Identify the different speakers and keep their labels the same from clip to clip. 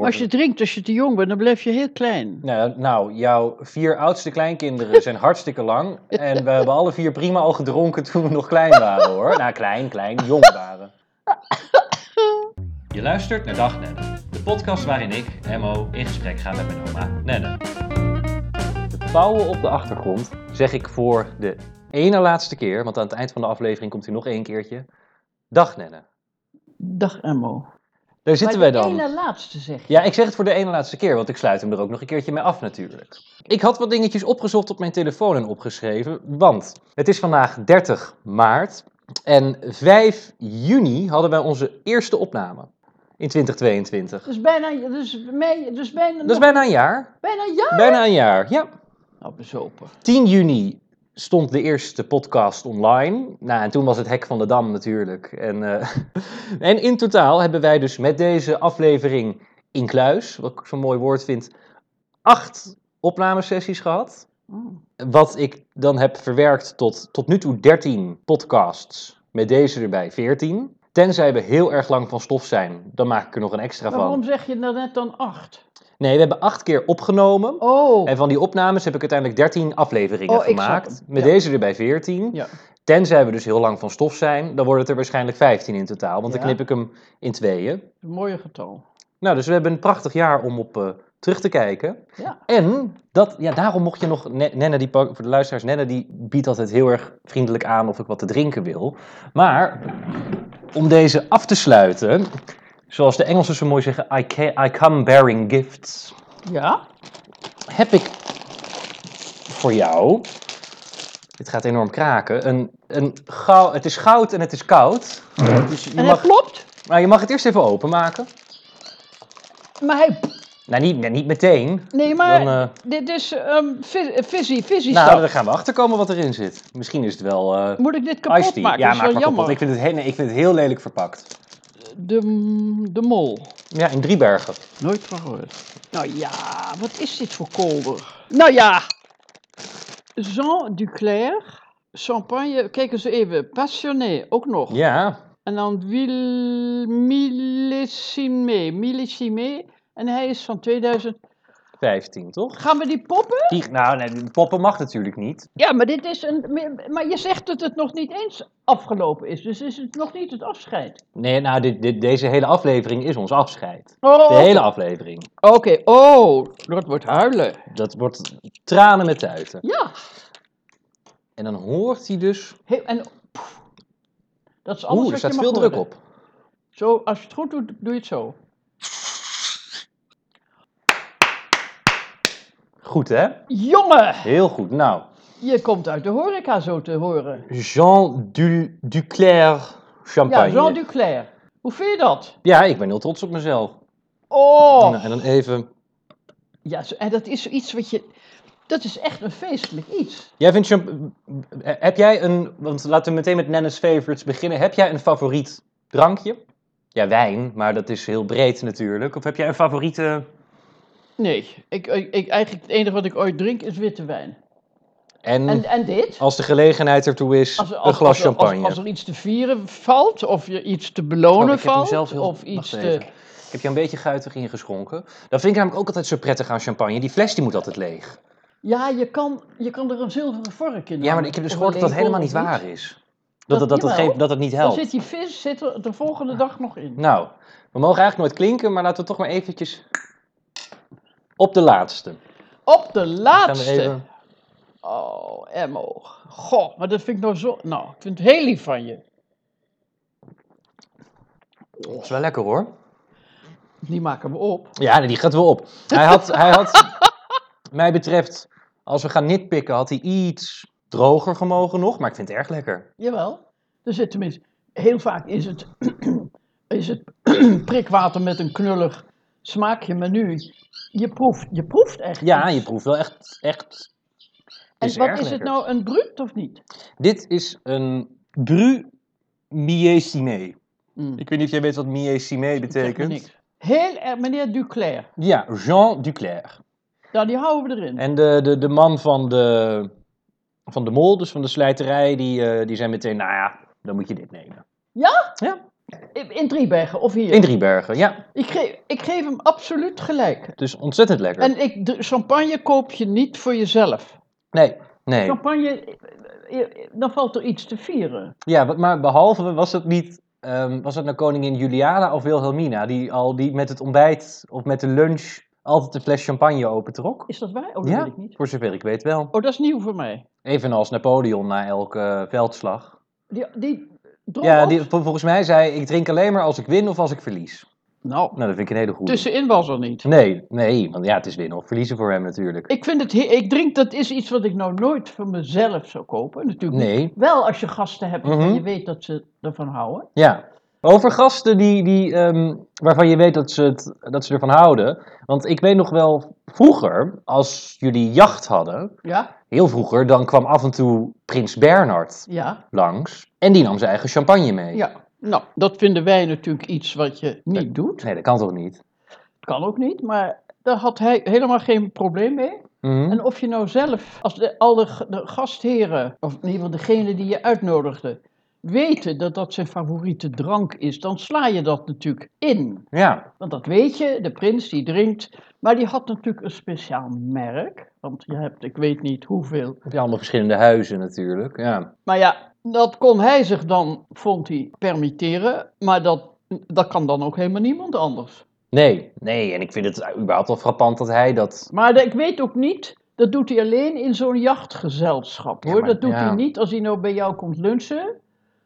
Speaker 1: Als je drinkt als je te jong bent, dan blijf je heel klein.
Speaker 2: Nou, nou, jouw vier oudste kleinkinderen zijn hartstikke lang. En we hebben alle vier prima al gedronken toen we nog klein waren hoor. Nou, klein, klein, jong waren. Je luistert naar Dag Nenne, de podcast waarin ik, Emmo, in gesprek ga met mijn oma Nenne. De pauwen op de achtergrond zeg ik voor de ene laatste keer, want aan het eind van de aflevering komt hij nog één keertje. Dag Nenne.
Speaker 1: Dag Emmo.
Speaker 2: Daar zitten
Speaker 1: maar
Speaker 2: wij
Speaker 1: de
Speaker 2: dan.
Speaker 1: ene laatste zeg je.
Speaker 2: Ja, ik zeg het voor de ene laatste keer, want ik sluit hem er ook nog een keertje mee af natuurlijk. Ik had wat dingetjes opgezocht op mijn telefoon en opgeschreven, want het is vandaag 30 maart en 5 juni hadden wij onze eerste opname in 2022.
Speaker 1: Dat is bijna, dus mei, dus bijna,
Speaker 2: Dat is
Speaker 1: nog-
Speaker 2: bijna een jaar.
Speaker 1: bijna een jaar.
Speaker 2: Bijna een jaar, ja.
Speaker 1: Nou, bezopen.
Speaker 2: 10 juni stond de eerste podcast online. Nou, en toen was het Hek van de Dam natuurlijk. En, eh, en in totaal hebben wij dus met deze aflevering in kluis, wat ik zo'n mooi woord vind, acht opnamesessies gehad.
Speaker 1: Mm.
Speaker 2: Wat ik dan heb verwerkt tot tot nu toe 13 podcasts, met deze erbij 14. Tenzij we heel erg lang van stof zijn, dan maak ik er nog een extra
Speaker 1: Maar waarom
Speaker 2: van.
Speaker 1: zeg je dan net dan acht?
Speaker 2: Nee, we hebben acht keer opgenomen.
Speaker 1: Oh,
Speaker 2: En van die opnames heb ik uiteindelijk 13 afleveringen
Speaker 1: Oh, ik snap
Speaker 2: gemaakt.
Speaker 1: hem.
Speaker 2: Met
Speaker 1: Ja.
Speaker 2: deze erbij 14.
Speaker 1: ja.
Speaker 2: Tenzij we dus heel lang van stof zijn, dan wordt het er waarschijnlijk 15 in totaal. Want dan
Speaker 1: Ja.
Speaker 2: knip ik hem in tweeën.
Speaker 1: Een mooie getal.
Speaker 2: Nou, dus we hebben een prachtig jaar om op eh, terug te kijken.
Speaker 1: Ja.
Speaker 2: En dat, ja, daarom mocht je nog. Ne- Nenne, die, pak- voor de luisteraars, Nenne die biedt altijd heel erg vriendelijk aan of ik wat te drinken wil. Maar om deze af te sluiten, zoals de Engelsen zo mooi zeggen: I, ca- I come bearing gifts
Speaker 1: Ja?
Speaker 2: heb ik voor jou. Dit gaat enorm kraken. Een, een gau- het is goud en het is koud. Dus je,
Speaker 1: en hij
Speaker 2: mag,
Speaker 1: klopt,
Speaker 2: maar je mag het eerst even openmaken.
Speaker 1: maar hij...
Speaker 2: Nou, niet, nee, niet meteen.
Speaker 1: Nee, maar
Speaker 2: Dan, eh,
Speaker 1: dit is ehm fi- fizzy, fizzy
Speaker 2: nou,
Speaker 1: stuff.
Speaker 2: dan gaan we achterkomen wat erin zit. Misschien is het wel eh
Speaker 1: Moet ik dit
Speaker 2: iced
Speaker 1: kapot
Speaker 2: tea.
Speaker 1: maken?
Speaker 2: Ja,
Speaker 1: dat is
Speaker 2: maak
Speaker 1: wel
Speaker 2: maar
Speaker 1: jammer.
Speaker 2: kapot. Ik vind, het heel, nee, ik vind het heel lelijk verpakt.
Speaker 1: De, de mol.
Speaker 2: Ja, in Driebergen.
Speaker 1: Nooit van gehoord. Nou ja, wat is dit voor kolder? Nou ja. Jean Duclair, champagne, kijk eens even. Passionné, ook nog.
Speaker 2: Ja,
Speaker 1: En dan Wil Millesime, Millesime. En hij is van 2000.
Speaker 2: 15 toch?
Speaker 1: Gaan we die poppen?
Speaker 2: Die, nou, nee, die poppen mag natuurlijk niet.
Speaker 1: Ja, maar dit is een. Maar je zegt dat het nog niet eens afgelopen is. Dus is het nog niet het afscheid.
Speaker 2: Nee, nou, dit, dit- deze hele aflevering is ons afscheid.
Speaker 1: Oh,
Speaker 2: De hele aflevering.
Speaker 1: Oké, oh, dat wordt huilen.
Speaker 2: Dat wordt tranen met tuiten.
Speaker 1: Ja.
Speaker 2: En dan hoort hij dus.
Speaker 1: Heel- en, pff, dat is alles
Speaker 2: Oeh,
Speaker 1: wat
Speaker 2: er
Speaker 1: je
Speaker 2: staat
Speaker 1: mag
Speaker 2: veel
Speaker 1: horen.
Speaker 2: druk op.
Speaker 1: Zo, als je het goed doet, doe je het zo.
Speaker 2: Goed, hè?
Speaker 1: Jongen,
Speaker 2: Heel goed. Nou,
Speaker 1: je komt uit de horeca zo te horen.
Speaker 2: Jean du, Duclair
Speaker 1: Ja,
Speaker 2: champagne. Ja,
Speaker 1: Jean Duclair. Hoe vind je dat?
Speaker 2: ik ben heel trots op mezelf.
Speaker 1: Oh,
Speaker 2: Nou, en dan even.
Speaker 1: ja, zo- en dat is zoiets wat je... Dat is echt een feestelijk iets.
Speaker 2: Jij vindt champ- eh, Heb jij een. Want laten we meteen met Nenne's favorites beginnen. Heb jij een favoriet drankje? Ja, wijn, maar dat is heel breed natuurlijk. Of heb jij een favoriete.
Speaker 1: Nee, ik, ik, ik- eigenlijk het enige wat ik ooit drink is witte wijn.
Speaker 2: En,
Speaker 1: En, en dit?
Speaker 2: als de gelegenheid ertoe is,
Speaker 1: Als, als-
Speaker 2: Oh, een glas
Speaker 1: als er- als-
Speaker 2: champagne.
Speaker 1: Als, er iets te vieren valt, of je iets te belonen
Speaker 2: Oh, ik heb hem
Speaker 1: valt,
Speaker 2: zelf heel-
Speaker 1: of
Speaker 2: wacht
Speaker 1: iets te...
Speaker 2: even. Ik heb je een beetje guitig ingeschonken. Dat vind ik namelijk ook altijd zo prettig aan champagne. Die fles die moet altijd leeg.
Speaker 1: Ja, je kan, je kan er een zilveren vork in
Speaker 2: Ja, maar
Speaker 1: hangen,
Speaker 2: ik heb dus
Speaker 1: of
Speaker 2: gehoord
Speaker 1: een
Speaker 2: dat dat
Speaker 1: lepel
Speaker 2: helemaal
Speaker 1: of
Speaker 2: niet
Speaker 1: iets.
Speaker 2: waar is. Dat
Speaker 1: Dat-
Speaker 2: dat, dat, dat,
Speaker 1: jawel.
Speaker 2: geen- dat, dat niet
Speaker 1: Dan
Speaker 2: helpt.
Speaker 1: zit die vis zit er de volgende dag nog in.
Speaker 2: Nou, we mogen eigenlijk nooit klinken, maar laten we toch maar eventjes op de laatste.
Speaker 1: Op de
Speaker 2: Gaan we
Speaker 1: laatste.
Speaker 2: even...
Speaker 1: Oh, Emmo. Goh, maar dat vind ik nou zo... Nou, ik vind het heel lief van je.
Speaker 2: Oh. Dat is wel lekker hoor.
Speaker 1: Die maken we op.
Speaker 2: Ja, nee, die gaat wel op. Hij had, hij had, mij betreft, als we gaan nitpikken, had hij iets droger gemogen nog. Maar ik vind het erg lekker.
Speaker 1: Jawel. Er zit tenminste... Heel vaak is het, is het prikwater met een knullig smaakje, maar nu... Je proeft, je proeft echt
Speaker 2: Ja,
Speaker 1: iets.
Speaker 2: je proeft wel echt... echt
Speaker 1: En
Speaker 2: is
Speaker 1: wat
Speaker 2: erg
Speaker 1: is het
Speaker 2: lekker.
Speaker 1: nou, een bruut of niet?
Speaker 2: Dit is een Bru Miesime.
Speaker 1: Mm.
Speaker 2: Ik weet niet of jij weet wat Miesime
Speaker 1: Zegt me
Speaker 2: betekent.
Speaker 1: niks. Heel erg, meneer Duclair.
Speaker 2: Ja, Jean Duclair.
Speaker 1: Nou, die houden we erin.
Speaker 2: En de, de, de man van de, van de mol, dus van de slijterij, die, eh, die zei meteen, nou ja, dan moet je dit nemen.
Speaker 1: Ja?
Speaker 2: Ja.
Speaker 1: In Driebergen of hier.
Speaker 2: In Driebergen, ja.
Speaker 1: Ik, geef, ik geef hem absoluut gelijk.
Speaker 2: Dus ontzettend lekker.
Speaker 1: En ik, dr- champagne koop je niet voor jezelf.
Speaker 2: Nee, nee.
Speaker 1: Champagne, eh, eh, dan valt er iets te vieren.
Speaker 2: Ja, wat- maar behalve was het niet. ehm, was het nou koningin Juliana of Wilhelmina? Die al die met het ontbijt of met de lunch altijd een fles champagne opentrok?
Speaker 1: Is dat waar? Oh, dat
Speaker 2: ja,
Speaker 1: weet ik niet.
Speaker 2: voor zover ik weet wel.
Speaker 1: Oh, dat is nieuw voor mij.
Speaker 2: Evenals Napoleon na elke eh, veldslag.
Speaker 1: Die, die dronk
Speaker 2: Ja,
Speaker 1: ook-
Speaker 2: die, vol- volgens mij zei ik drink alleen maar als ik win of als ik verlies.
Speaker 1: Nou,
Speaker 2: Nou, dat vind ik een hele goede.
Speaker 1: tussenin was er niet.
Speaker 2: Nee, nee, want ja, het is winnen of verliezen voor hem natuurlijk.
Speaker 1: Ik vind het, he- ik drink, dat is iets wat ik nou nooit voor mezelf zou kopen. Natuurlijk niet.
Speaker 2: Nee,
Speaker 1: Wel als je gasten hebt waarvan
Speaker 2: Mhm.
Speaker 1: je weet dat ze ervan houden.
Speaker 2: Ja. Over gasten die, die, ehm, waarvan je weet dat ze, het, dat ze ervan houden. Want ik weet nog wel vroeger, als jullie jacht hadden,
Speaker 1: Ja,
Speaker 2: heel vroeger, dan kwam af en toe Prins Bernhard
Speaker 1: ja,
Speaker 2: langs. En die nam zijn eigen champagne mee.
Speaker 1: ja. Nou, dat vinden wij natuurlijk iets wat je niet
Speaker 2: Nee.
Speaker 1: doet.
Speaker 2: Nee, dat kan toch niet?
Speaker 1: Kan ook niet, maar daar had hij helemaal geen probleem mee.
Speaker 2: Mhm.
Speaker 1: En of je nou zelf, als de, al de, g- de gastheren, of in ieder geval degene die je uitnodigde, weten dat dat zijn favoriete drank is, dan sla je dat natuurlijk in.
Speaker 2: Ja,
Speaker 1: Want dat weet je, de prins die drinkt, maar die had natuurlijk een speciaal merk. Want je hebt, ik weet niet hoeveel.
Speaker 2: heb je allemaal verschillende huizen natuurlijk. Ja.
Speaker 1: Maar ja, dat kon hij zich dan, vond hij, permitteren. Maar dat, dat kan dan ook helemaal niemand anders.
Speaker 2: Nee, nee, en ik vind het überhaupt wel frappant dat hij dat...
Speaker 1: Maar de- ik weet ook niet, dat doet hij alleen in zo'n jachtgezelschap hoor.
Speaker 2: Ja, maar-
Speaker 1: dat doet
Speaker 2: ja.
Speaker 1: hij niet als hij nou bij jou komt lunchen.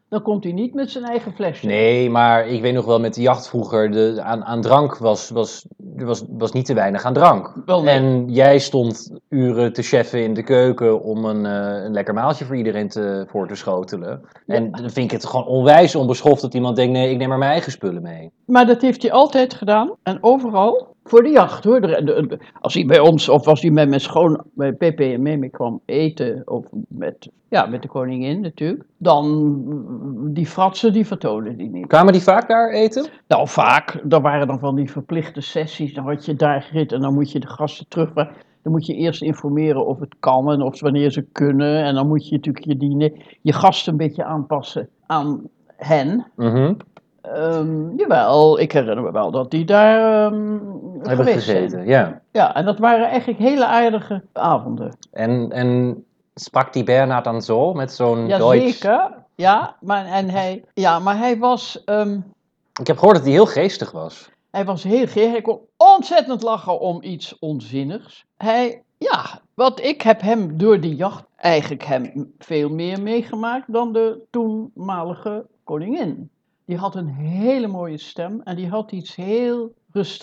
Speaker 1: Dan komt hij niet met zijn eigen flesje.
Speaker 2: Nee, maar ik weet nog wel met de jacht vroeger, de, aan, aan drank was, was, er was, was niet te weinig aan drank.
Speaker 1: Wel Oh, nee.
Speaker 2: En jij stond uren te cheffen in de keuken om een, eh, een lekker maaltje voor iedereen te, voor te schotelen. En dan vind ik het gewoon onwijs onbeschoft dat iemand denkt, nee, ik neem maar mijn eigen spullen mee.
Speaker 1: Maar dat heeft hij altijd gedaan en overal voor de jacht hoor. De- de- de- Als hij bij ons of als hij met mijn schoon, bij Pepe en Meme kwam eten, of met, ja, met de koningin natuurlijk, dan mm, die fratsen die vertonen die niet.
Speaker 2: Kwamen die vaak daar eten?
Speaker 1: Nou vaak, daar waren dan van die verplichte sessies, dan had je daar gerit en dan moet je de gasten terug, maar dan moet je eerst informeren of het kan en of wanneer ze kunnen. En dan moet je natuurlijk je, diner, je gasten een beetje aanpassen aan hen.
Speaker 2: Mhm.
Speaker 1: Ehm, jawel, ik herinner me wel dat die daar ehm
Speaker 2: Hebben
Speaker 1: geweest zijn.
Speaker 2: gezeten, ja.
Speaker 1: Ja, en dat waren eigenlijk hele aardige avonden.
Speaker 2: En, en sprak die Bernhard dan zo, met zo'n
Speaker 1: Ja,
Speaker 2: Duits?
Speaker 1: zeker. Ja, maar, en hij, ja, maar hij was, ehm,
Speaker 2: Ik heb gehoord dat hij heel geestig was.
Speaker 1: hij was heel geer. Hij kon ontzettend lachen om iets onzinnigs. Hij, ja, wat ik heb hem door die jacht eigenlijk hem veel meer meegemaakt dan de toenmalige koningin. Die had een hele mooie stem en die had iets heel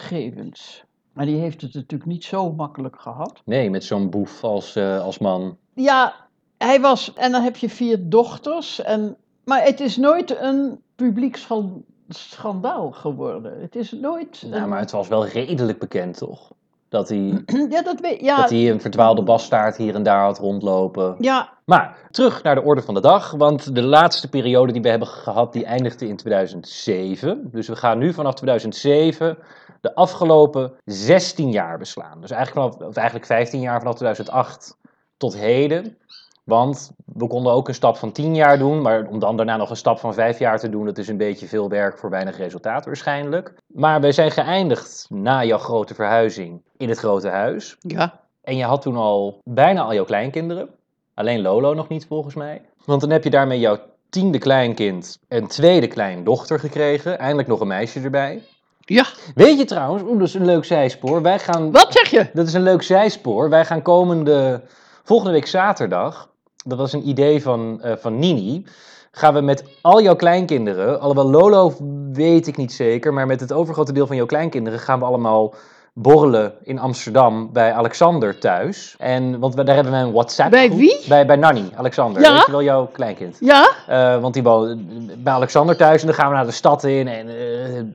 Speaker 1: rustgevends. Maar die heeft het natuurlijk niet zo makkelijk gehad.
Speaker 2: Nee, met zo'n boef als, eh, als man.
Speaker 1: Ja, hij was. En dan heb je vier dochters. En, maar het is nooit een publiek schan- schandaal geworden. Het is nooit. een-
Speaker 2: Ja, maar het was wel redelijk bekend, toch? Dat hij,
Speaker 1: ja, dat weet ja,
Speaker 2: dat hij een verdwaalde bastaard hier en daar had rondlopen.
Speaker 1: ja,
Speaker 2: Maar terug naar de orde van de dag, want de laatste periode die we hebben gehad, die eindigde in 2007. Dus we gaan nu vanaf 2007 de afgelopen 16 jaar beslaan. Dus eigenlijk, vanaf, of eigenlijk 15 jaar vanaf 2008 tot heden. Want we konden ook een stap van 10 jaar doen, maar om dan daarna nog een stap van 5 jaar te doen, dat is een beetje veel werk voor weinig resultaat waarschijnlijk. Maar wij zijn geëindigd na jouw grote verhuizing in het grote huis.
Speaker 1: ja.
Speaker 2: En je had toen al bijna al jouw kleinkinderen. Alleen Lolo nog niet, volgens mij. Want dan heb je daarmee jouw tiende kleinkind en tweede kleindochter gekregen. Eindelijk nog een meisje erbij.
Speaker 1: Ja,
Speaker 2: Weet je trouwens, oeh, dat is een leuk zijspoor. Wij gaan,
Speaker 1: wat zeg je?
Speaker 2: dat is een leuk zijspoor. Wij gaan komende, volgende week zaterdag, dat was een idee van, eh, van Nini, gaan we met al jouw kleinkinderen, alhoewel Lolo weet ik niet zeker, maar met het overgrote deel van jouw kleinkinderen gaan we allemaal borrelen in Amsterdam bij Alexander thuis. En, want we, daar hebben wij een WhatsApp
Speaker 1: Bij wie?
Speaker 2: Bij, bij Nanny, Alexander.
Speaker 1: Ja?
Speaker 2: Weet je wel, jouw kleinkind.
Speaker 1: Ja?
Speaker 2: Eh, want die woont bij Alexander thuis en dan gaan we naar de stad in en eh,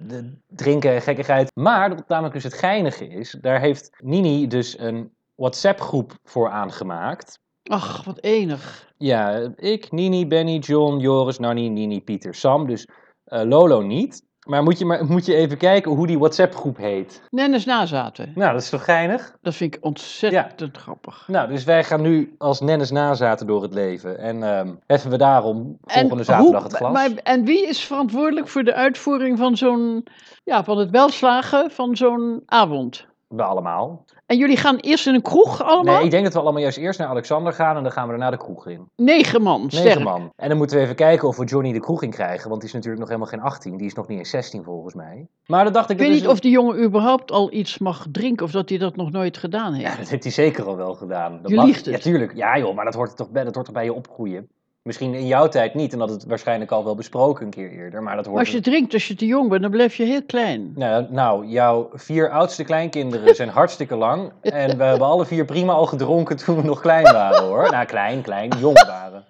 Speaker 2: de- drinken en gekkigheid. Maar wat namelijk dus het geinige is, daar heeft Nini dus een WhatsApp groep voor aangemaakt.
Speaker 1: Ach, wat enig.
Speaker 2: Ja, ik, Nini, Benny, John, Joris, Nanny, Nini, Pieter, Sam. Dus eh, Lolo niet. Maar moet je, maar moet je even kijken hoe die WhatsApp-groep heet.
Speaker 1: Nennis nazaten.
Speaker 2: Nou, dat is toch geinig?
Speaker 1: Dat vind ik ontzettend grappig.
Speaker 2: Nou, dus wij gaan nu als nennes nazaten door het leven. En ehm heffen we daarom volgende
Speaker 1: hoe-
Speaker 2: zaterdag het glas.
Speaker 1: maar- en wie is verantwoordelijk voor de uitvoering van zo'n, ja, van het welslagen van zo'n avond?
Speaker 2: We allemaal.
Speaker 1: En jullie gaan eerst in een kroeg allemaal?
Speaker 2: Nee, ik denk dat we allemaal juist eerst naar Alexander gaan en dan gaan we daarna de kroeg in.
Speaker 1: Negen man,
Speaker 2: Negen
Speaker 1: sterk.
Speaker 2: man. En dan moeten we even kijken of we Johnny de kroeg in krijgen, want die is natuurlijk nog helemaal geen 18. Die is nog niet eens 16 volgens mij. Maar dan dacht ik...
Speaker 1: Ik weet
Speaker 2: dat dus-
Speaker 1: niet
Speaker 2: is-
Speaker 1: of die jongen überhaupt al iets mag drinken of dat hij dat nog nooit gedaan
Speaker 2: Ja,
Speaker 1: heeft.
Speaker 2: dat heeft hij zeker al wel gedaan. Dat
Speaker 1: Je
Speaker 2: mag-
Speaker 1: liegt het.
Speaker 2: Ja, tuurlijk. Ja joh, maar dat hoort, er toch bij, dat hoort toch bij je opgroeien. Misschien in jouw tijd niet, en dat het waarschijnlijk al wel besproken een keer eerder, maar dat hoort...
Speaker 1: Als je drinkt als je te jong bent, dan blijf je heel klein.
Speaker 2: Nou, nou, jouw vier oudste kleinkinderen zijn hartstikke lang. En we hebben alle vier prima al gedronken toen we nog klein waren hoor. Nou, klein, klein, jong waren.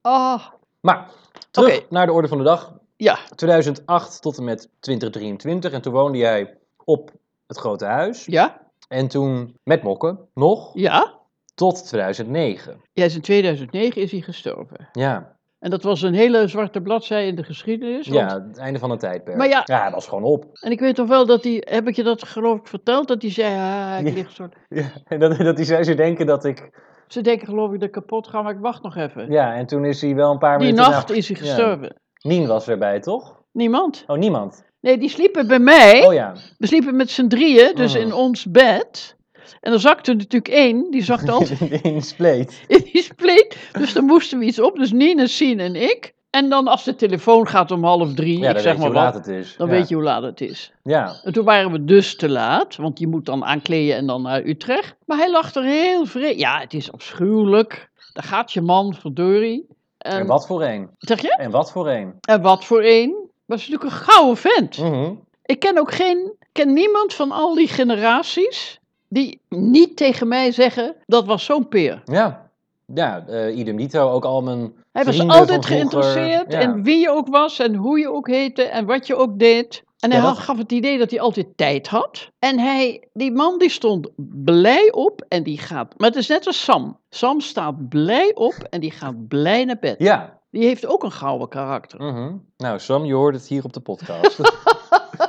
Speaker 1: Ah,
Speaker 2: Maar terug
Speaker 1: Oké.
Speaker 2: naar de orde van de dag.
Speaker 1: ja.
Speaker 2: 2008 tot en met 2023. En toen woonde jij op het grote huis.
Speaker 1: Ja?
Speaker 2: En toen met mokken nog
Speaker 1: Ja?
Speaker 2: tot 2009.
Speaker 1: Jij is in 2009 is hij gestorven.
Speaker 2: Ja,
Speaker 1: En dat was een hele zwarte bladzij in de geschiedenis. want-
Speaker 2: ja het einde van een tijdperk.
Speaker 1: Maar ja-
Speaker 2: dat was gewoon op.
Speaker 1: En ik weet nog wel dat hij, heb ik je dat geloof ik verteld, dat hij zei, ah, ik
Speaker 2: Ja.
Speaker 1: lig zo...
Speaker 2: Ja, en dat, dat die zij ze denken dat ik...
Speaker 1: Ze denken geloof ik dat ik kapot ga, maar ik wacht nog even.
Speaker 2: Ja, en toen is hij wel een paar
Speaker 1: Die
Speaker 2: minuten...
Speaker 1: nacht is hij
Speaker 2: ja.
Speaker 1: gestorven.
Speaker 2: Nien was erbij, toch?
Speaker 1: Niemand.
Speaker 2: Oh, niemand.
Speaker 1: Nee, die sliepen bij mij.
Speaker 2: Oh ja.
Speaker 1: We sliepen met z'n drieën, dus
Speaker 2: Mhm.
Speaker 1: in ons bed. En er zakte natuurlijk één, die zakte altijd
Speaker 2: in spleet.
Speaker 1: in die spleet. Dus dan moesten we iets op. Dus Nina, Sien en ik. En dan als de telefoon gaat om half drie,
Speaker 2: Ja,
Speaker 1: ik
Speaker 2: dan weet
Speaker 1: zeg
Speaker 2: je
Speaker 1: maar
Speaker 2: hoe
Speaker 1: wat,
Speaker 2: laat het is.
Speaker 1: dan
Speaker 2: ja.
Speaker 1: weet je hoe laat het is.
Speaker 2: Ja.
Speaker 1: En toen waren we dus te laat, want je moet dan aankleden en dan naar Utrecht. Maar hij lag er heel vreemd. Ja, het is afschuwelijk. Daar gaat je man, verdorie.
Speaker 2: En,
Speaker 1: En,
Speaker 2: wat voor een.
Speaker 1: Zeg je?
Speaker 2: En wat voor een.
Speaker 1: En wat voor een? Was natuurlijk een gouden vent.
Speaker 2: Mhm.
Speaker 1: Ik ken ook geen, ik ken niemand van al die generaties die niet tegen mij zeggen dat was zo'n peer.
Speaker 2: Ja. Ja, eh idem dito. Ook al mijn
Speaker 1: Hij was
Speaker 2: vrienden
Speaker 1: altijd
Speaker 2: van vroeger.
Speaker 1: geïnteresseerd
Speaker 2: Ja.
Speaker 1: in wie je ook was en hoe je ook heette en wat je ook deed. En
Speaker 2: Ja,
Speaker 1: hij
Speaker 2: dat-
Speaker 1: had- gaf het idee dat hij altijd tijd had. En hij, die man die stond blij op en die gaat... Maar het is net als Sam. Sam staat blij op en die gaat blij naar bed.
Speaker 2: Ja.
Speaker 1: Die heeft ook een gouden karakter.
Speaker 2: Mhm. Nou, Sam, je hoort het hier op de podcast.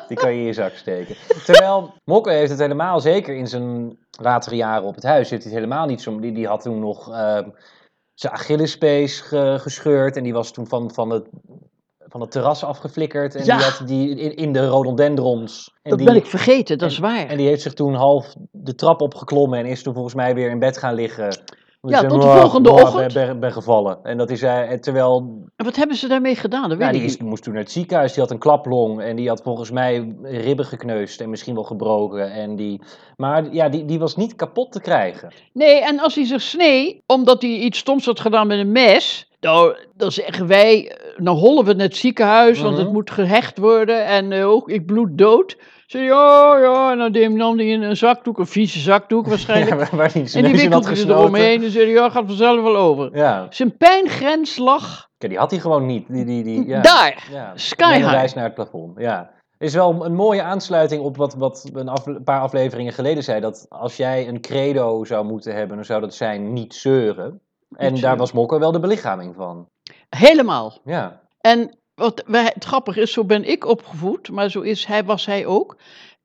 Speaker 2: Die kan je in je zak steken. Terwijl Mokke heeft het helemaal, zeker in zijn latere jaren op het huis, heeft hij het helemaal niet zo... Die, die had toen nog eh, zijn Achillespees ge- gescheurd en die was toen van, van, het, van het terras afgeflikkerd. En
Speaker 1: Ja.
Speaker 2: die had die in, in de rhododendrons. En
Speaker 1: Dat
Speaker 2: die,
Speaker 1: ben ik vergeten, dat is waar.
Speaker 2: En die heeft zich toen half de trap opgeklommen en is toen volgens mij weer in bed gaan liggen. Omdat
Speaker 1: Ja,
Speaker 2: hij
Speaker 1: tot de
Speaker 2: "Mwah,
Speaker 1: volgende
Speaker 2: mwah,
Speaker 1: ochtend."
Speaker 2: Ben, ben, ben gevallen. En dat is hij, en terwijl
Speaker 1: En wat hebben ze daarmee gedaan? Dat weet
Speaker 2: ja, Nou, die
Speaker 1: ik
Speaker 2: is,
Speaker 1: niet.
Speaker 2: moest toen naar het ziekenhuis. Die had een klaplong en die had volgens mij ribben gekneusd en misschien wel gebroken. En die, maar ja, die, die was niet kapot te krijgen.
Speaker 1: Nee, en als hij zich snee, omdat hij iets stoms had gedaan met een mes. Nou, dan zeggen wij, eh, nou hollen we naar het ziekenhuis, want het
Speaker 2: Mhm.
Speaker 1: moet gehecht worden. En eh, ook, ik bloed dood. Zei hij, oh ja, en dan deed- nam hij een, een zakdoek, een vieze zakdoek waarschijnlijk.
Speaker 2: Ja, waar- waar die
Speaker 1: en die
Speaker 2: neus in had
Speaker 1: wikkelde ze
Speaker 2: gesnoten.
Speaker 1: eromheen en zei hij, ja, gaat vanzelf wel over.
Speaker 2: Ja,
Speaker 1: Zijn pijngrens lag
Speaker 2: Ja, die had hij gewoon niet. Die, die, die, ja.
Speaker 1: daar.
Speaker 2: Ja.
Speaker 1: Sky
Speaker 2: Met een
Speaker 1: high.
Speaker 2: reis naar het plafond, ja. Is wel een mooie aansluiting op wat, wat we een, af- een paar afleveringen geleden zei. Dat als jij een credo zou moeten hebben, dan zou dat zijn niet zeuren. En
Speaker 1: Niet
Speaker 2: daar
Speaker 1: zeuren.
Speaker 2: was Mokko wel de belichaming van.
Speaker 1: Helemaal.
Speaker 2: Ja.
Speaker 1: En wat wij, het grappige is, zo ben ik opgevoed, maar zo is hij, was hij ook.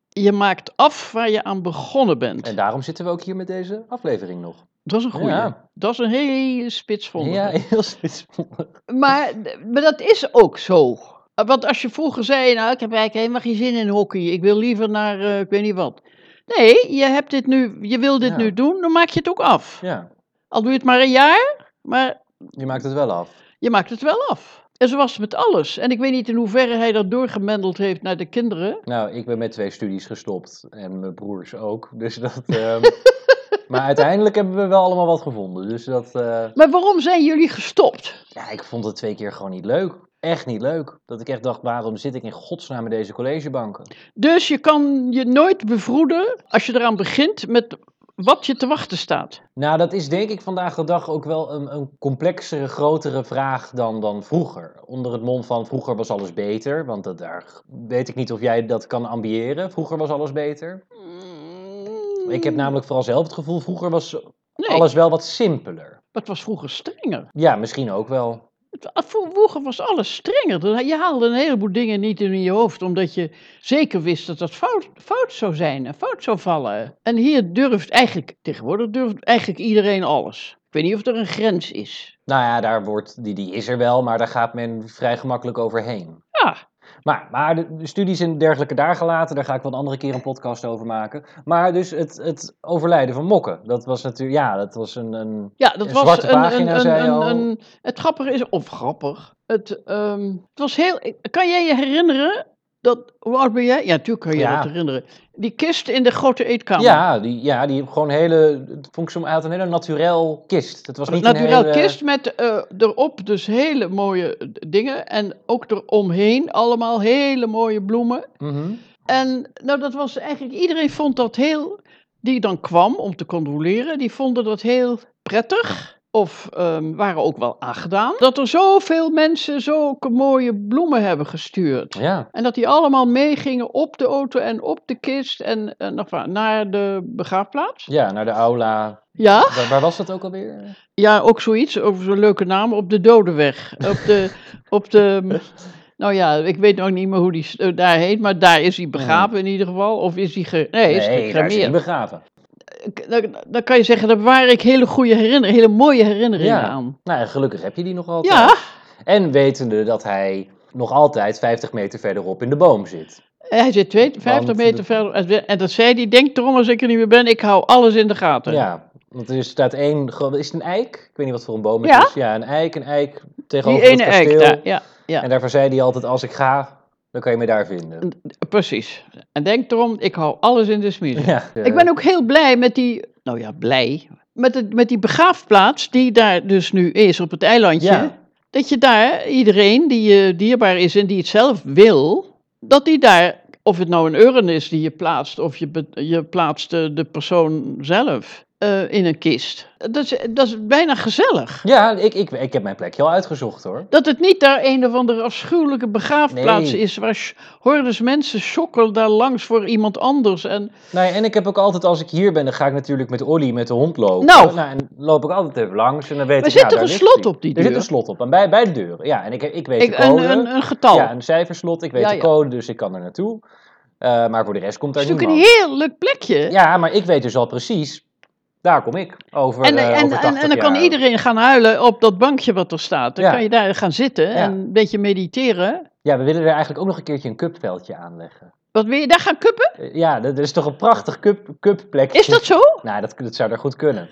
Speaker 1: Je maakt af waar je aan begonnen bent.
Speaker 2: En daarom zitten we ook hier met deze aflevering nog.
Speaker 1: Dat is een goeie.
Speaker 2: Ja.
Speaker 1: Dat is een hele spitsvondige.
Speaker 2: Ja, heel spitsvondig.
Speaker 1: Maar, maar dat is ook zo. Want als je vroeger zei, nou ik heb eigenlijk helemaal geen zin in hockey. Ik wil liever naar eh, ik weet niet wat. Nee, je, hebt dit nu, je wil dit
Speaker 2: Ja.
Speaker 1: nu doen, dan maak je het ook af.
Speaker 2: Ja,
Speaker 1: Al doe je het maar een jaar, maar
Speaker 2: je maakt het wel af.
Speaker 1: je maakt het wel af. En zo was het met alles. En ik weet niet in hoeverre hij dat doorgemendeld heeft naar de kinderen.
Speaker 2: Nou, ik ben met twee studies gestopt en mijn broers ook. Dus dat. ehm, maar uiteindelijk hebben we wel allemaal wat gevonden. Dus dat. eh,
Speaker 1: Maar waarom zijn jullie gestopt?
Speaker 2: ja, ik vond het twee keer gewoon niet leuk. Echt niet leuk. Dat ik echt dacht, waarom zit ik in godsnaam met deze collegebanken?
Speaker 1: Dus je kan je nooit bevroeden als je eraan begint met wat je te wachten staat.
Speaker 2: Nou, dat is denk ik vandaag de dag ook wel een, een complexere, grotere vraag dan, dan vroeger. Onder het mond van vroeger was alles beter. Want dat, daar weet ik niet of jij dat kan ambiëren. Vroeger was alles beter. Ik heb namelijk vooral zelf het gevoel, vroeger was
Speaker 1: Nee,
Speaker 2: alles wel wat simpeler.
Speaker 1: maar het was vroeger strenger.
Speaker 2: Ja, misschien ook wel.
Speaker 1: Het- ah, Vroeger was alles strenger. Dan- Je haalde een heleboel dingen niet in je hoofd, omdat je zeker wist dat dat fout, fout zou zijn en fout zou vallen. En hier durft eigenlijk, tegenwoordig durft eigenlijk iedereen alles. Ik weet niet of er een grens is.
Speaker 2: Nou ja, daar wordt, die, die is er wel, maar daar gaat men vrij gemakkelijk overheen.
Speaker 1: Ja,
Speaker 2: Maar, maar de, de studies en dergelijke daar gelaten, daar ga ik wel een andere keer een podcast over maken. Maar dus het, het overlijden van mokken, dat was natuurlijk, ja, dat was een, een
Speaker 1: ja dat
Speaker 2: Een
Speaker 1: was
Speaker 2: zwarte
Speaker 1: een,
Speaker 2: pagina,
Speaker 1: een,
Speaker 2: zei je
Speaker 1: een,
Speaker 2: al.
Speaker 1: een, een- Het grappige is, of grappig, het, ehm, het was heel... Kan jij je herinneren dat... Hoe oud ben jij? Ja, natuurlijk kan je
Speaker 2: Ja.
Speaker 1: dat herinneren. Die kist in de grote eetkamer.
Speaker 2: ja, die, ja, die gewoon hele, het vond ik zo- hij had een hele naturel kist. Het was niet
Speaker 1: Naturel
Speaker 2: een hele,
Speaker 1: kist met eh, erop dus hele mooie eh, dingen. En ook eromheen allemaal hele mooie bloemen.
Speaker 2: Mhm.
Speaker 1: En nou, dat was eigenlijk, iedereen vond dat heel, die dan kwam om te controleren, die vonden dat heel prettig. Of ehm, waren ook wel aangedaan. Dat er zoveel mensen zulke mooie bloemen hebben gestuurd.
Speaker 2: Ja,
Speaker 1: En dat die allemaal meegingen op de auto en op de kist en, en enfin, naar de begraafplaats.
Speaker 2: ja, naar de aula.
Speaker 1: Ja?
Speaker 2: Waar, waar was dat ook alweer?
Speaker 1: Ja, ook zoiets, over zo'n leuke naam, op de Dodenweg. Op de, op de, nou ja, ik weet nog niet meer hoe die s- eh, daar heet, maar daar is hij begraven in ieder geval. Of is hij, ge, nee, is hij
Speaker 2: daar is hij
Speaker 1: gecremeerd.
Speaker 2: begraven.
Speaker 1: K- Dan, dan kan je zeggen, daar waren ik hele goede herinneringen, hele mooie herinneringen
Speaker 2: Ja.
Speaker 1: aan.
Speaker 2: Nou, en gelukkig heb je die nog altijd.
Speaker 1: Ja,
Speaker 2: En wetende dat hij nog altijd 50 meter verderop in de boom zit.
Speaker 1: hij zit 52
Speaker 2: Want
Speaker 1: meter
Speaker 2: de-
Speaker 1: verder. En dat zei hij, denk erom als ik er niet meer ben, ik hou alles in de gaten.
Speaker 2: Ja, want er staat één, gro- is het een eik? Ik weet niet wat voor een boom het
Speaker 1: Ja.
Speaker 2: is. Ja, een eik, een eik
Speaker 1: Die
Speaker 2: tegenover
Speaker 1: ene
Speaker 2: het kasteel.
Speaker 1: eik daar, ja,
Speaker 2: En daarvoor zei hij altijd, als ik ga, dan kan je me daar vinden.
Speaker 1: precies. En denk erom, ik hou alles in de smiezen.
Speaker 2: Ja. eh,
Speaker 1: Ik ben ook heel blij met die, nou ja, blij, met, het, met die begraafplaats die daar dus nu is op het eilandje.
Speaker 2: Ja.
Speaker 1: Dat je daar iedereen die je dierbaar is en die het zelf wil, dat die daar, of het nou een urn is die je plaatst of je, be- je plaatst eh, de, de persoon zelf eh, in een kist. Dat is, dat is bijna gezellig.
Speaker 2: Ja, ik, ik, ik heb mijn plekje al uitgezocht hoor.
Speaker 1: Dat het niet daar een of andere afschuwelijke begraafplaats
Speaker 2: Nee.
Speaker 1: is waar sh- hordes mensen sjokkelen daar langs voor iemand anders. En
Speaker 2: Nee, en ik heb ook altijd, als ik hier ben, dan ga ik natuurlijk met Olly met de hond lopen.
Speaker 1: Nou.
Speaker 2: en loop ik altijd even langs en dan weet
Speaker 1: Maar
Speaker 2: ik,
Speaker 1: zit
Speaker 2: ja,
Speaker 1: toch
Speaker 2: daar
Speaker 1: een
Speaker 2: ligt
Speaker 1: slot
Speaker 2: hij.
Speaker 1: op die
Speaker 2: Er zit
Speaker 1: deur?
Speaker 2: een slot op, en bij, bij de deur. Ja, en ik, ik weet
Speaker 1: ik,
Speaker 2: de code.
Speaker 1: een, een, een getal.
Speaker 2: Ja, een cijferslot, ik weet
Speaker 1: Ja,
Speaker 2: de
Speaker 1: ja.
Speaker 2: code, dus ik kan er naartoe. Eh, maar voor de rest komt daar
Speaker 1: Het is
Speaker 2: niemand.
Speaker 1: natuurlijk een heerlijk plekje.
Speaker 2: Ja, maar ik weet dus al precies, daar kom ik over,
Speaker 1: en,
Speaker 2: eh,
Speaker 1: en,
Speaker 2: over 80
Speaker 1: en, en dan kan
Speaker 2: jaar.
Speaker 1: iedereen gaan huilen op dat bankje wat er staat. Dan
Speaker 2: Ja.
Speaker 1: kan je daar gaan zitten en
Speaker 2: Ja.
Speaker 1: een beetje mediteren.
Speaker 2: Ja, we willen er eigenlijk ook nog een keertje een cupveldje aanleggen.
Speaker 1: Wat wil je daar gaan kuppen?
Speaker 2: Eh, ja, dat is toch een prachtig cup, cupplekje.
Speaker 1: Is dat zo?
Speaker 2: Nou, dat, dat zou daar goed kunnen.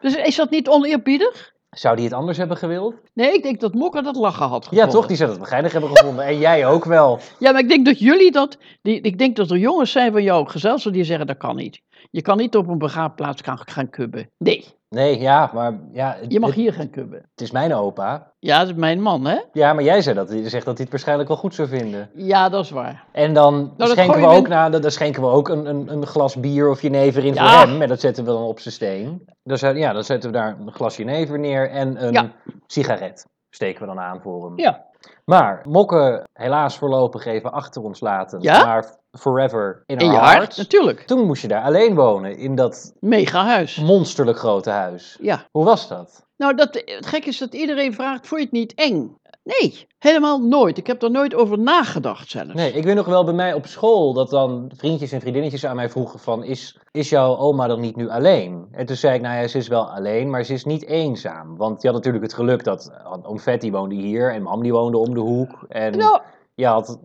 Speaker 1: Dus is dat niet oneerbiedig?
Speaker 2: Zou die het anders hebben gewild?
Speaker 1: Nee, ik denk dat Mokka dat lachen had
Speaker 2: Ja,
Speaker 1: gevonden.
Speaker 2: toch? Die zou het begrijpelijk hebben gevonden. En jij ook wel.
Speaker 1: Ja, maar ik denk dat jullie dat... Die, ik denk dat er jongens zijn van jouw gezelschap die zeggen dat kan niet. Je kan niet op een begraafplaats gaan, gaan kubben. Nee,
Speaker 2: Nee, ja, maar ja, het,
Speaker 1: je mag
Speaker 2: het-
Speaker 1: hier gaan kubben.
Speaker 2: het is mijn opa.
Speaker 1: Ja, dat is mijn man, hè?
Speaker 2: Ja, maar jij zei dat. Je zegt dat hij het waarschijnlijk wel goed zou vinden.
Speaker 1: Ja, dat is waar.
Speaker 2: En dan
Speaker 1: Nou, dat
Speaker 2: schenken we
Speaker 1: gooien we
Speaker 2: ook,
Speaker 1: in-
Speaker 2: na, dan dan schenken we ook een, een, een glas bier of jenever in
Speaker 1: Ja.
Speaker 2: voor hem. En dat zetten we dan op zijn steen. Dan zet- ja, dan zetten we daar een glas jenever neer en een
Speaker 1: Ja.
Speaker 2: sigaret steken we dan aan voor hem.
Speaker 1: Ja.
Speaker 2: Maar mokken helaas voorlopig even achter ons laten.
Speaker 1: Ja?
Speaker 2: Maar forever in,
Speaker 1: In
Speaker 2: our
Speaker 1: je hart,
Speaker 2: hearts.
Speaker 1: natuurlijk.
Speaker 2: Toen moest je daar alleen wonen in dat
Speaker 1: Mega huis.
Speaker 2: Mm. monsterlijk grote huis.
Speaker 1: Ja.
Speaker 2: Hoe was dat?
Speaker 1: Nou, dat, het gek is dat iedereen vraagt, vond je het niet eng? Nee, helemaal nooit. Ik heb er nooit over nagedacht zelfs.
Speaker 2: Nee, ik weet nog wel bij mij op school dat dan vriendjes en vriendinnetjes aan mij vroegen van... Is, is jouw oma dan niet nu alleen? En toen zei ik, nou ja, ze is wel alleen, maar ze is niet eenzaam. Want je had natuurlijk het geluk dat eh, oom Vet die woonde hier en mam die woonde om de hoek. En
Speaker 1: Nou,
Speaker 2: je had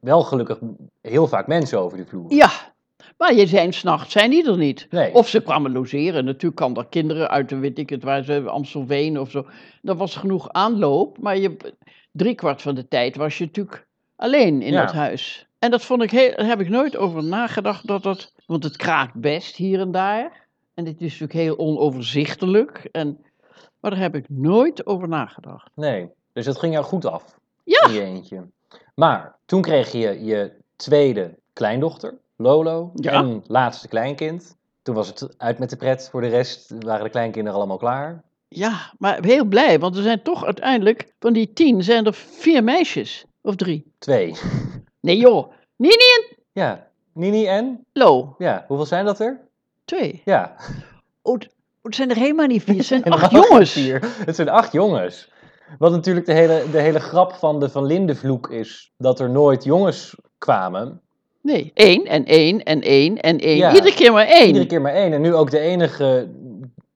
Speaker 2: wel gelukkig heel vaak mensen over de vloer.
Speaker 1: ja. Maar je zijn s'nachts, zijn die er niet.
Speaker 2: Nee.
Speaker 1: Of ze kwamen logeren. Natuurlijk kan dat kinderen uit de, weet ik het, waar ze, Amstelveen of zo. Dat was genoeg aanloop. Maar je, driekwart van de tijd was je natuurlijk alleen in
Speaker 2: Ja.
Speaker 1: dat huis. En dat vond ik heel, daar heb ik nooit over nagedacht. Dat dat, want het kraakt best hier en daar. En het is natuurlijk heel onoverzichtelijk. En, maar daar heb ik nooit over nagedacht.
Speaker 2: Nee, dus dat ging jou goed af.
Speaker 1: Ja.
Speaker 2: In je eentje. Maar toen kreeg je je tweede kleindochter, Lolo,
Speaker 1: Ja.
Speaker 2: en laatste kleinkind. Toen was het uit met de pret voor de rest, waren de kleinkinderen allemaal klaar.
Speaker 1: Ja, maar heel blij, want er zijn toch uiteindelijk van die tien zijn er vier meisjes. Of drie.
Speaker 2: Twee.
Speaker 1: Nee joh, Nini en
Speaker 2: Ja, Nini en?
Speaker 1: Lo.
Speaker 2: Ja, hoeveel zijn dat er?
Speaker 1: Twee.
Speaker 2: Ja.
Speaker 1: Oh, het- oh, het zijn er helemaal niet vier, het zijn
Speaker 2: En dan
Speaker 1: acht
Speaker 2: ook
Speaker 1: jongens.
Speaker 2: vier. Het zijn acht jongens. Wat natuurlijk de hele, de hele grap van de Van Lindenvloek is. Dat er nooit jongens kwamen.
Speaker 1: Nee, één en één en één en één.
Speaker 2: Ja.
Speaker 1: Iedere keer maar één.
Speaker 2: Iedere keer maar één. En nu ook de enige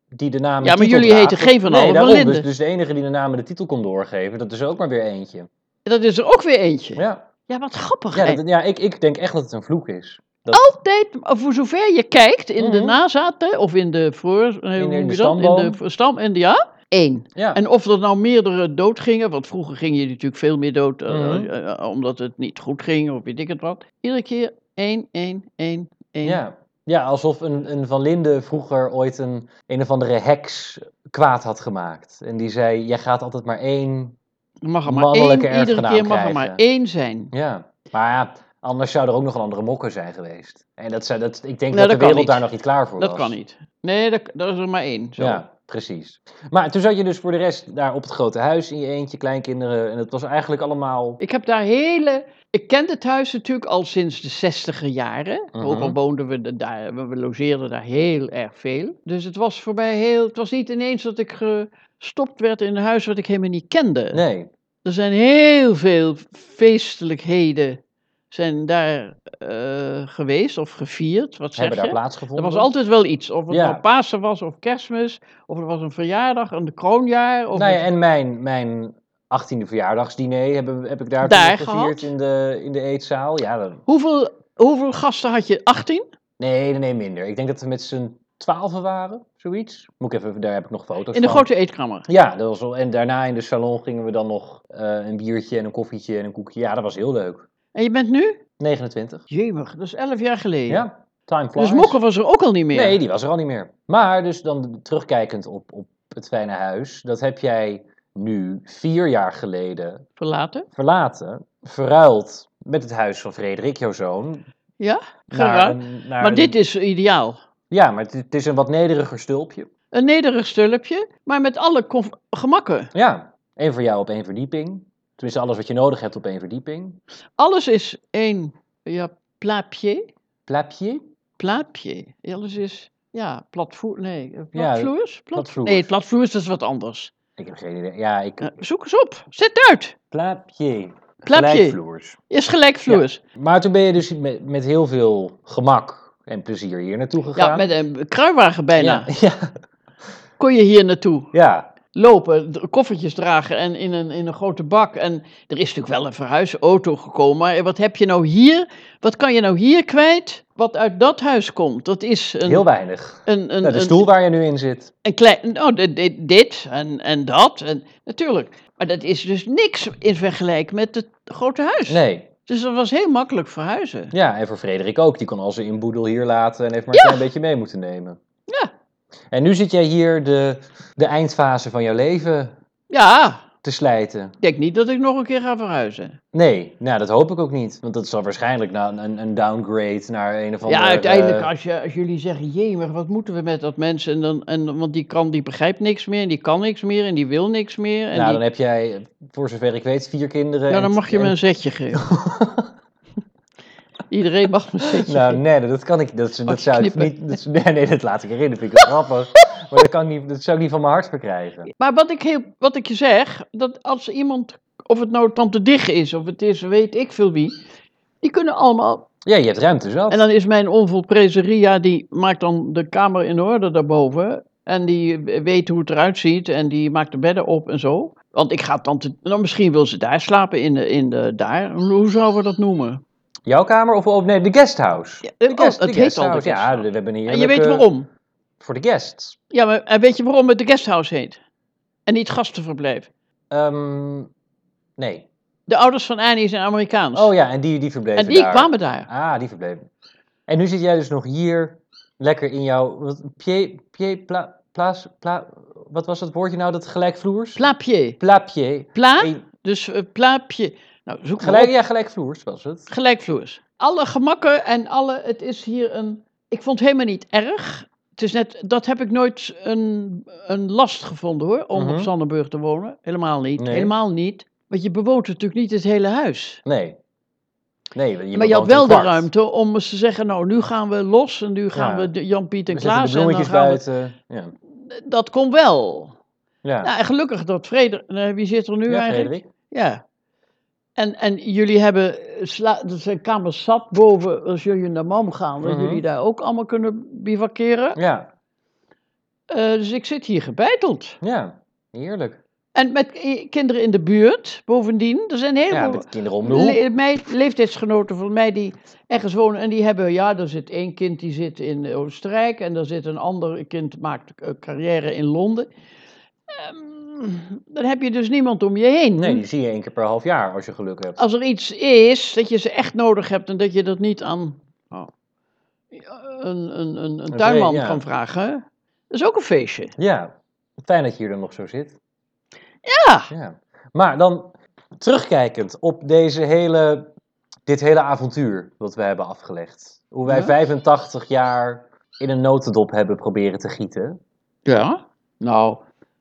Speaker 2: die de naam en
Speaker 1: Ja, maar
Speaker 2: titel
Speaker 1: jullie
Speaker 2: draagt.
Speaker 1: heten geen van
Speaker 2: nee,
Speaker 1: allen Van
Speaker 2: daarom.
Speaker 1: Linden.
Speaker 2: Dus, dus de enige die de naam en de titel kon doorgeven, dat is ook maar weer eentje.
Speaker 1: Dat is er ook weer eentje. Ja,
Speaker 2: Ja,
Speaker 1: wat grappig.
Speaker 2: ja,
Speaker 1: hè?
Speaker 2: dat- ja ik, ik denk echt dat het een vloek is.
Speaker 1: Altijd, voor zover je kijkt, in de
Speaker 2: Mhm.
Speaker 1: nazaten of in de voor... eh,
Speaker 2: In de-
Speaker 1: hoe
Speaker 2: in de
Speaker 1: noem je dat? In
Speaker 2: stamboom.
Speaker 1: de stam, in de, ja, één.
Speaker 2: Ja,
Speaker 1: En of er nou meerdere dood gingen, want vroeger gingen je natuurlijk veel meer dood eh,
Speaker 2: Mhm.
Speaker 1: eh, eh, omdat het niet goed ging of weet ik het wat. Iedere keer één, één, één, één.
Speaker 2: ja. ja alsof een, een Van Linden vroeger ooit een, een of andere heks kwaad had gemaakt. En die zei, jij gaat altijd maar één.
Speaker 1: Er mag er maar
Speaker 2: Mannelijke
Speaker 1: één, iedere
Speaker 2: erfgenaam
Speaker 1: keer mag er
Speaker 2: krijgen.
Speaker 1: maar één zijn.
Speaker 2: Ja, maar ja, anders zou er ook nog een andere mokker zijn geweest. En dat, zou- dat, ik denk
Speaker 1: Nou, dat
Speaker 2: dat
Speaker 1: kan
Speaker 2: de wereld
Speaker 1: niet.
Speaker 2: daar nog niet klaar voor
Speaker 1: Dat
Speaker 2: was.
Speaker 1: kan niet. Nee, dat, dat is er maar één. Zo.
Speaker 2: Ja, precies. Maar toen zat je dus voor de rest daar op het grote huis in je eentje, kleinkinderen. En het was eigenlijk allemaal...
Speaker 1: Ik heb daar hele. Ik kende het huis natuurlijk al sinds de zestiger jaren.
Speaker 2: Mhm.
Speaker 1: Ook al woonden we er daar, we we logeerden daar heel erg veel. Dus het was voor mij heel. Het was niet ineens dat ik gestopt werd in een huis wat ik helemaal niet kende.
Speaker 2: Nee,
Speaker 1: Er zijn heel veel feestelijkheden zijn daar eh, geweest of gevierd. Wat zeg
Speaker 2: hebben daar
Speaker 1: je? Er
Speaker 2: plaatsgevonden.
Speaker 1: was altijd wel iets. Of het
Speaker 2: Ja.
Speaker 1: nou Pasen was of Kerstmis. Of er was een verjaardag, een kroonjaar. Of
Speaker 2: Nou ja,
Speaker 1: het-
Speaker 2: en mijn, mijn 18e verjaardagsdiner heb, heb ik daar,
Speaker 1: Daar
Speaker 2: toen
Speaker 1: gehad?
Speaker 2: gevierd in de, in de eetzaal. Ja, dan-
Speaker 1: hoeveel, hoeveel gasten had je? 18?
Speaker 2: nee, nee, nee, minder. Ik denk dat we met z'n twaalfen waren, zoiets. Moet ik even, daar heb ik nog foto's
Speaker 1: In de
Speaker 2: van.
Speaker 1: grote eetkamer.
Speaker 2: Ja, dat was, wel- en daarna in de salon gingen we dan nog eh, een biertje en een koffietje en een koekje. Ja, dat was heel leuk.
Speaker 1: En je bent nu?
Speaker 2: 29.
Speaker 1: Jemig, dat is 11 jaar geleden.
Speaker 2: Ja, time flies.
Speaker 1: dus Mokker was er ook al niet meer.
Speaker 2: Nee, die was er al niet meer. Maar dus dan terugkijkend op, op het fijne huis, dat heb jij nu vier jaar geleden
Speaker 1: Verlaten.
Speaker 2: verlaten, verruild met het huis van Frederik, jouw zoon.
Speaker 1: Ja,
Speaker 2: naar
Speaker 1: geruild.
Speaker 2: een- naar
Speaker 1: Maar
Speaker 2: een-
Speaker 1: dit is ideaal.
Speaker 2: Ja, maar het, het is een wat nederiger stulpje.
Speaker 1: Een nederig stulpje, maar met alle conf- gemakken.
Speaker 2: Ja, één voor jou op één verdieping. Tenminste, alles wat je nodig hebt op één verdieping.
Speaker 1: Alles is één, ja, plaapje.
Speaker 2: Plapje,
Speaker 1: Plaapje. Alles is, ja, platvoer. Nee, eh,
Speaker 2: Ja,
Speaker 1: platvloers? Plat-
Speaker 2: platvloers.
Speaker 1: Nee, platvloers dat is wat anders.
Speaker 2: Ik heb geen idee. Ja, ik...
Speaker 1: Eh, zoek eens op. Zet uit.
Speaker 2: Plapje.
Speaker 1: Plapje.
Speaker 2: Gelijkvloers.
Speaker 1: Is gelijkvloers.
Speaker 2: Maar toen ben je dus met, met heel veel gemak en plezier hier naartoe
Speaker 1: Ja,
Speaker 2: gegaan.
Speaker 1: met een kruiwagen bijna.
Speaker 2: Ja, ja,
Speaker 1: Kon je hier naartoe.
Speaker 2: ja.
Speaker 1: lopen, d- koffertjes dragen en in een, in een grote bak. En er is natuurlijk wel een verhuisauto gekomen. Maar wat heb je nou hier? Wat kan je nou hier kwijt? Wat uit dat huis komt? Dat is een.
Speaker 2: heel weinig.
Speaker 1: een, een,
Speaker 2: Nou, de
Speaker 1: een-
Speaker 2: stoel waar je nu in zit.
Speaker 1: een klein, nou, dit, dit, dit en, en dat. En, natuurlijk. Maar dat is dus niks in vergelijking met het grote huis.
Speaker 2: Nee.
Speaker 1: Dus dat was heel makkelijk verhuizen.
Speaker 2: Ja, en voor Frederik ook. Die kon al zijn inboedel hier laten en heeft maar
Speaker 1: Ja.
Speaker 2: een klein beetje mee moeten nemen.
Speaker 1: Ja.
Speaker 2: En nu zit jij hier de, de eindfase van jouw leven
Speaker 1: Ja,
Speaker 2: te slijten.
Speaker 1: ik denk niet dat ik nog een keer ga verhuizen.
Speaker 2: Nee, nou dat hoop ik ook niet. Want dat zal waarschijnlijk nou een, een downgrade naar een of andere...
Speaker 1: ja, uiteindelijk
Speaker 2: eh,
Speaker 1: als, je, als jullie zeggen, jee, maar wat moeten we met dat mensen? En dan, en, want die, kan, die begrijpt niks meer, en die kan niks meer, en die wil niks meer. En
Speaker 2: nou,
Speaker 1: die,
Speaker 2: dan heb jij, voor zover ik weet, vier kinderen.
Speaker 1: ja,
Speaker 2: en-
Speaker 1: dan mag je
Speaker 2: en-
Speaker 1: me een zetje geven. Iedereen mag me een zetje
Speaker 2: Nou,
Speaker 1: geven.
Speaker 2: nee, dat kan ik. Dat, dat
Speaker 1: Oh,
Speaker 2: zou ik
Speaker 1: knippen.
Speaker 2: niet. Dat, nee, nee, dat laat ik erin. Dat vind ik wel grappig. Maar dat, kan ik niet, dat zou ik niet van mijn hart verkrijgen.
Speaker 1: Maar wat ik, heel, wat ik je zeg, dat als iemand, of het nou Tante Dig is, of het is weet ik veel wie, die kunnen allemaal.
Speaker 2: Ja, je hebt ruimte dus zelf.
Speaker 1: En dan is mijn onvolprezen Ria, die maakt dan de kamer in orde daarboven. En die weet hoe het eruit ziet en die maakt de bedden op en zo. Want ik ga tante... Nou, misschien wil ze daar slapen, in de, in de, daar. Hoe zouden we dat noemen?
Speaker 2: Jouw kamer of oh, nee, de guesthouse.
Speaker 1: Ja,
Speaker 2: De guest- de
Speaker 1: oh, het heet al de
Speaker 2: guesthouse.
Speaker 1: guesthouse.
Speaker 2: Ja, we hebben hier. eh,
Speaker 1: en je weet waarom.
Speaker 2: Voor de guests.
Speaker 1: Ja, maar en weet je waarom het de guesthouse heet? En niet gastenverblijf.
Speaker 2: Ehm, nee.
Speaker 1: De ouders van Annie zijn Amerikaans.
Speaker 2: Oh ja, en die, die verbleven
Speaker 1: Dus- en die
Speaker 2: daar.
Speaker 1: kwamen daar.
Speaker 2: Ah, die verbleven. En nu zit jij dus nog hier, lekker in jouw... Wat, pie, pie, pla, plaas, pla, wat was dat woordje nou, dat gelijkvloers?
Speaker 1: Plaapje.
Speaker 2: Plaapje.
Speaker 1: Pla,
Speaker 2: Eén-
Speaker 1: dus eh, plaapje. Nou, zoek maar
Speaker 2: Gelijk,
Speaker 1: op.
Speaker 2: ja, gelijkvloers was het.
Speaker 1: Gelijkvloers. Alle gemakken en alle. Het is hier een. Ik vond het helemaal niet erg. Het is net, dat heb ik nooit een, een last gevonden hoor, om
Speaker 2: Mhm.
Speaker 1: op Zandenburg te wonen. Helemaal niet.
Speaker 2: Nee.
Speaker 1: Helemaal niet. Want je bewoont natuurlijk niet het hele huis.
Speaker 2: Nee. Nee, want je
Speaker 1: maar je had
Speaker 2: bewoont
Speaker 1: wel
Speaker 2: een
Speaker 1: de
Speaker 2: kwart.
Speaker 1: ruimte om eens te zeggen, nou nu gaan we los en nu gaan
Speaker 2: Ja.
Speaker 1: we de- Jan, Piet en
Speaker 2: Er zitten de
Speaker 1: Klaas. En dan
Speaker 2: bloemetjes
Speaker 1: gaan we-
Speaker 2: buiten. Ja.
Speaker 1: Dat kon wel.
Speaker 2: Ja,
Speaker 1: Nou, en gelukkig dat Frederik, eh, wie zit er nu
Speaker 2: Ja,
Speaker 1: eigenlijk?
Speaker 2: Frederik.
Speaker 1: Ja. En, en jullie hebben eh, sla, er zijn kamers zat boven als jullie naar Mam gaan, dat
Speaker 2: Mhm.
Speaker 1: jullie daar ook allemaal kunnen bivakeren.
Speaker 2: Ja,
Speaker 1: Eh, dus ik zit hier gebeiteld.
Speaker 2: ja. Heerlijk.
Speaker 1: En met i- kinderen in de buurt, bovendien. Er zijn heel
Speaker 2: Ja,
Speaker 1: veel
Speaker 2: met kinderen om de hoek.
Speaker 1: le- mij- leeftijdsgenoten van mij die ergens wonen en die hebben, ja, er zit één kind die zit in Oostenrijk en er zit een ander kind maakt eh, carrière in Londen. Ehm, dan heb je dus niemand om je heen.
Speaker 2: Nee, die zie je één keer per half jaar als je geluk hebt.
Speaker 1: als er iets is dat je ze echt nodig hebt en dat je dat niet aan oh, een, een, een, een
Speaker 2: Een
Speaker 1: tuinman
Speaker 2: vee- ja.
Speaker 1: kan vragen, dat is ook een feestje.
Speaker 2: Ja, fijn dat je hier dan nog zo zit. Dus
Speaker 1: Ja.
Speaker 2: ja. Maar dan terugkijkend op deze hele, dit hele avontuur dat we hebben afgelegd. Hoe wij
Speaker 1: Ja.
Speaker 2: 85 jaar in een notendop hebben proberen te gieten.
Speaker 1: Ja. Nou,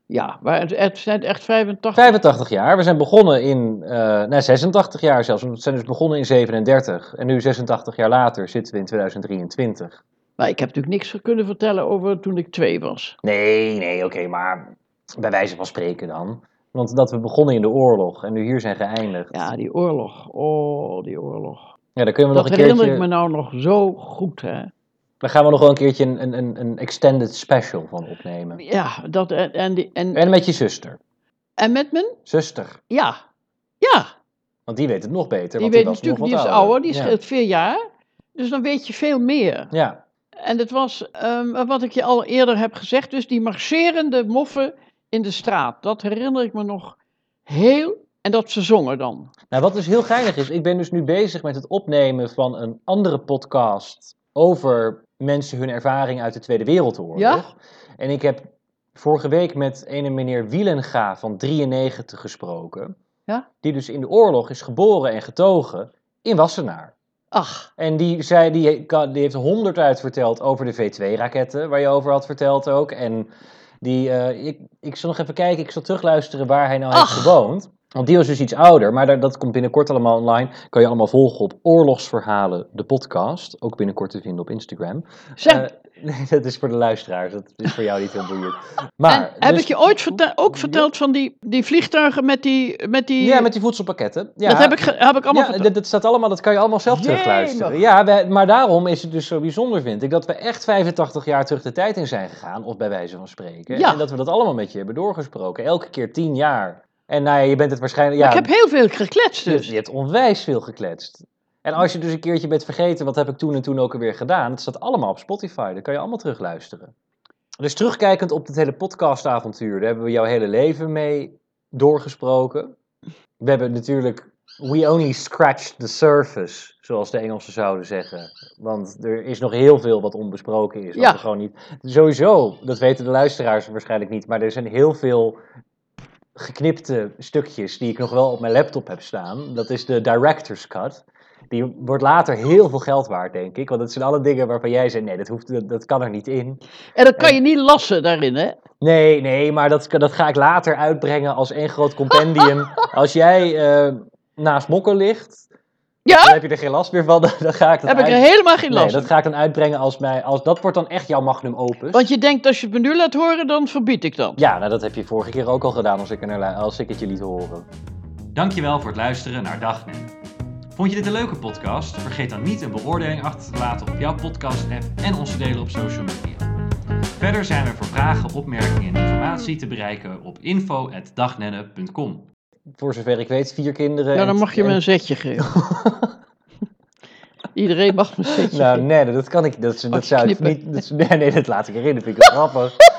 Speaker 1: ja, maar het, het zijn echt 85.
Speaker 2: 85 jaar, we zijn begonnen in, eh nee 86 jaar zelfs, want we zijn dus begonnen in 37. En nu 86 jaar later zitten we in 2023.
Speaker 1: Maar ik heb natuurlijk niks kunnen vertellen over toen ik twee was.
Speaker 2: Nee, nee, oké, maar bij wijze van spreken dan. Want dat we begonnen in de oorlog en nu hier zijn geëindigd.
Speaker 1: Ja, die oorlog. Oh, die oorlog.
Speaker 2: Ja, daar kunnen we
Speaker 1: Dat
Speaker 2: nog een
Speaker 1: herinner
Speaker 2: keertje...
Speaker 1: ik me nou nog zo goed, hè.
Speaker 2: Daar gaan we nog wel een keertje een, een- een, een extended special van opnemen.
Speaker 1: Ja, dat en, en, die- en,
Speaker 2: En met je zuster.
Speaker 1: en met mijn?
Speaker 2: Zuster.
Speaker 1: Ja. Ja.
Speaker 2: Want die weet het nog beter.
Speaker 1: Die
Speaker 2: want
Speaker 1: weet
Speaker 2: was
Speaker 1: natuurlijk,
Speaker 2: nog
Speaker 1: die is
Speaker 2: wat
Speaker 1: ouder, die
Speaker 2: ja.
Speaker 1: scheelt vier jaar. Dus dan weet je veel meer.
Speaker 2: Ja,
Speaker 1: En het was, ehm, wat ik je al eerder heb gezegd, dus die marcherende moffen in de straat. Dat herinner ik me nog heel. En dat ze zongen dan.
Speaker 2: nou wat dus heel geinig is, ik ben dus nu bezig met het opnemen van een andere podcast over mensen hun ervaring uit de Tweede Wereldoorlog.
Speaker 1: Ja?
Speaker 2: En ik heb vorige week met ene meneer Wielenga van 93 gesproken.
Speaker 1: Ja?
Speaker 2: Die dus in de oorlog is geboren en getogen in Wassenaar.
Speaker 1: Ach,
Speaker 2: En die, zei, die, kan- die heeft honderd uit verteld over de V2-raketten, waar je over had verteld ook. En die, eh, ik, ik zal nog even kijken, ik zal terugluisteren waar hij nou
Speaker 1: Ach.
Speaker 2: heeft gewoond. Want die was dus iets ouder, maar daar, dat komt binnenkort allemaal online. Kan je allemaal volgen op Oorlogsverhalen, de podcast. Ook binnenkort te vinden op Instagram.
Speaker 1: zeg,
Speaker 2: Eh, nee, dat is voor de luisteraars, dat is voor jou niet heel boeiend. Maar,
Speaker 1: en heb
Speaker 2: dus-
Speaker 1: ik je ooit vertel- ook verteld van die, die vliegtuigen met die... Met die
Speaker 2: Ja, met die voedselpakketten. Ja.
Speaker 1: Dat heb ik, ge- heb ik allemaal
Speaker 2: ja,
Speaker 1: verteld.
Speaker 2: dat, dat staat allemaal, dat kan je allemaal zelf
Speaker 1: Jemig.
Speaker 2: terugluisteren. Ja, wij- maar daarom is het dus zo bijzonder, vind ik, dat we echt 85 jaar terug de tijd in zijn gegaan, of bij wijze van spreken.
Speaker 1: Ja.
Speaker 2: En dat we dat allemaal met je hebben doorgesproken. Elke keer 10 jaar. En nou ja, je bent het waarschijnlijk.
Speaker 1: Maar
Speaker 2: Ja,
Speaker 1: ik heb heel veel gekletst dus.
Speaker 2: je, je hebt onwijs veel gekletst. En als je dus een keertje bent vergeten, wat heb ik toen en toen ook alweer gedaan? Het staat allemaal op Spotify, daar kan je allemaal terugluisteren. Dus terugkijkend op dit hele podcastavontuur, daar hebben we jouw hele leven mee doorgesproken. We hebben natuurlijk, we only scratched the surface, zoals de Engelsen zouden zeggen. Want er is nog heel veel wat onbesproken is. wat
Speaker 1: Ja.
Speaker 2: we gewoon niet, sowieso, dat weten de luisteraars waarschijnlijk niet, maar er zijn heel veel geknipte stukjes die ik nog wel op mijn laptop heb staan. Dat is de director's cut. Die wordt later heel veel geld waard, denk ik. Want dat zijn alle dingen waarvan jij zei: nee, dat, hoeft, dat, dat kan er niet in.
Speaker 1: En dat kan je niet lassen daarin, hè.
Speaker 2: Nee, nee, maar dat, dat ga ik later uitbrengen als één groot compendium. Als jij eh, naast mokken ligt,
Speaker 1: Ja,
Speaker 2: dan heb je er geen last meer van. Dan dan ga ik dat
Speaker 1: heb ik er
Speaker 2: uit-
Speaker 1: helemaal geen last
Speaker 2: Nee, dat
Speaker 1: van.
Speaker 2: ga ik dan uitbrengen als mij. Als, dat wordt dan echt jouw magnum opus.
Speaker 1: Want je denkt, als je het me nu laat horen, dan verbied ik dat.
Speaker 2: Ja, nou dat heb je vorige keer ook al gedaan als ik, er, naar lu- als ik het je liet horen. Dankjewel voor het luisteren naar Dagnet. Vond je dit een leuke podcast? Vergeet dan niet een beoordeling achter te laten op jouw podcast-app en ons te delen op social media. Verder zijn we voor vragen, opmerkingen en informatie te bereiken op info.dagnenne.com. Voor zover ik weet, vier kinderen.
Speaker 1: Nou, dan mag je me een zetje geven. Iedereen mag me een zetje
Speaker 2: Nou,
Speaker 1: geven.
Speaker 2: nee, dat kan ik. Dat, dat
Speaker 1: je
Speaker 2: zou ik
Speaker 1: knippen.
Speaker 2: niet. dat- nee, nee, dat laat ik erin. Dat vind ik wel grappig.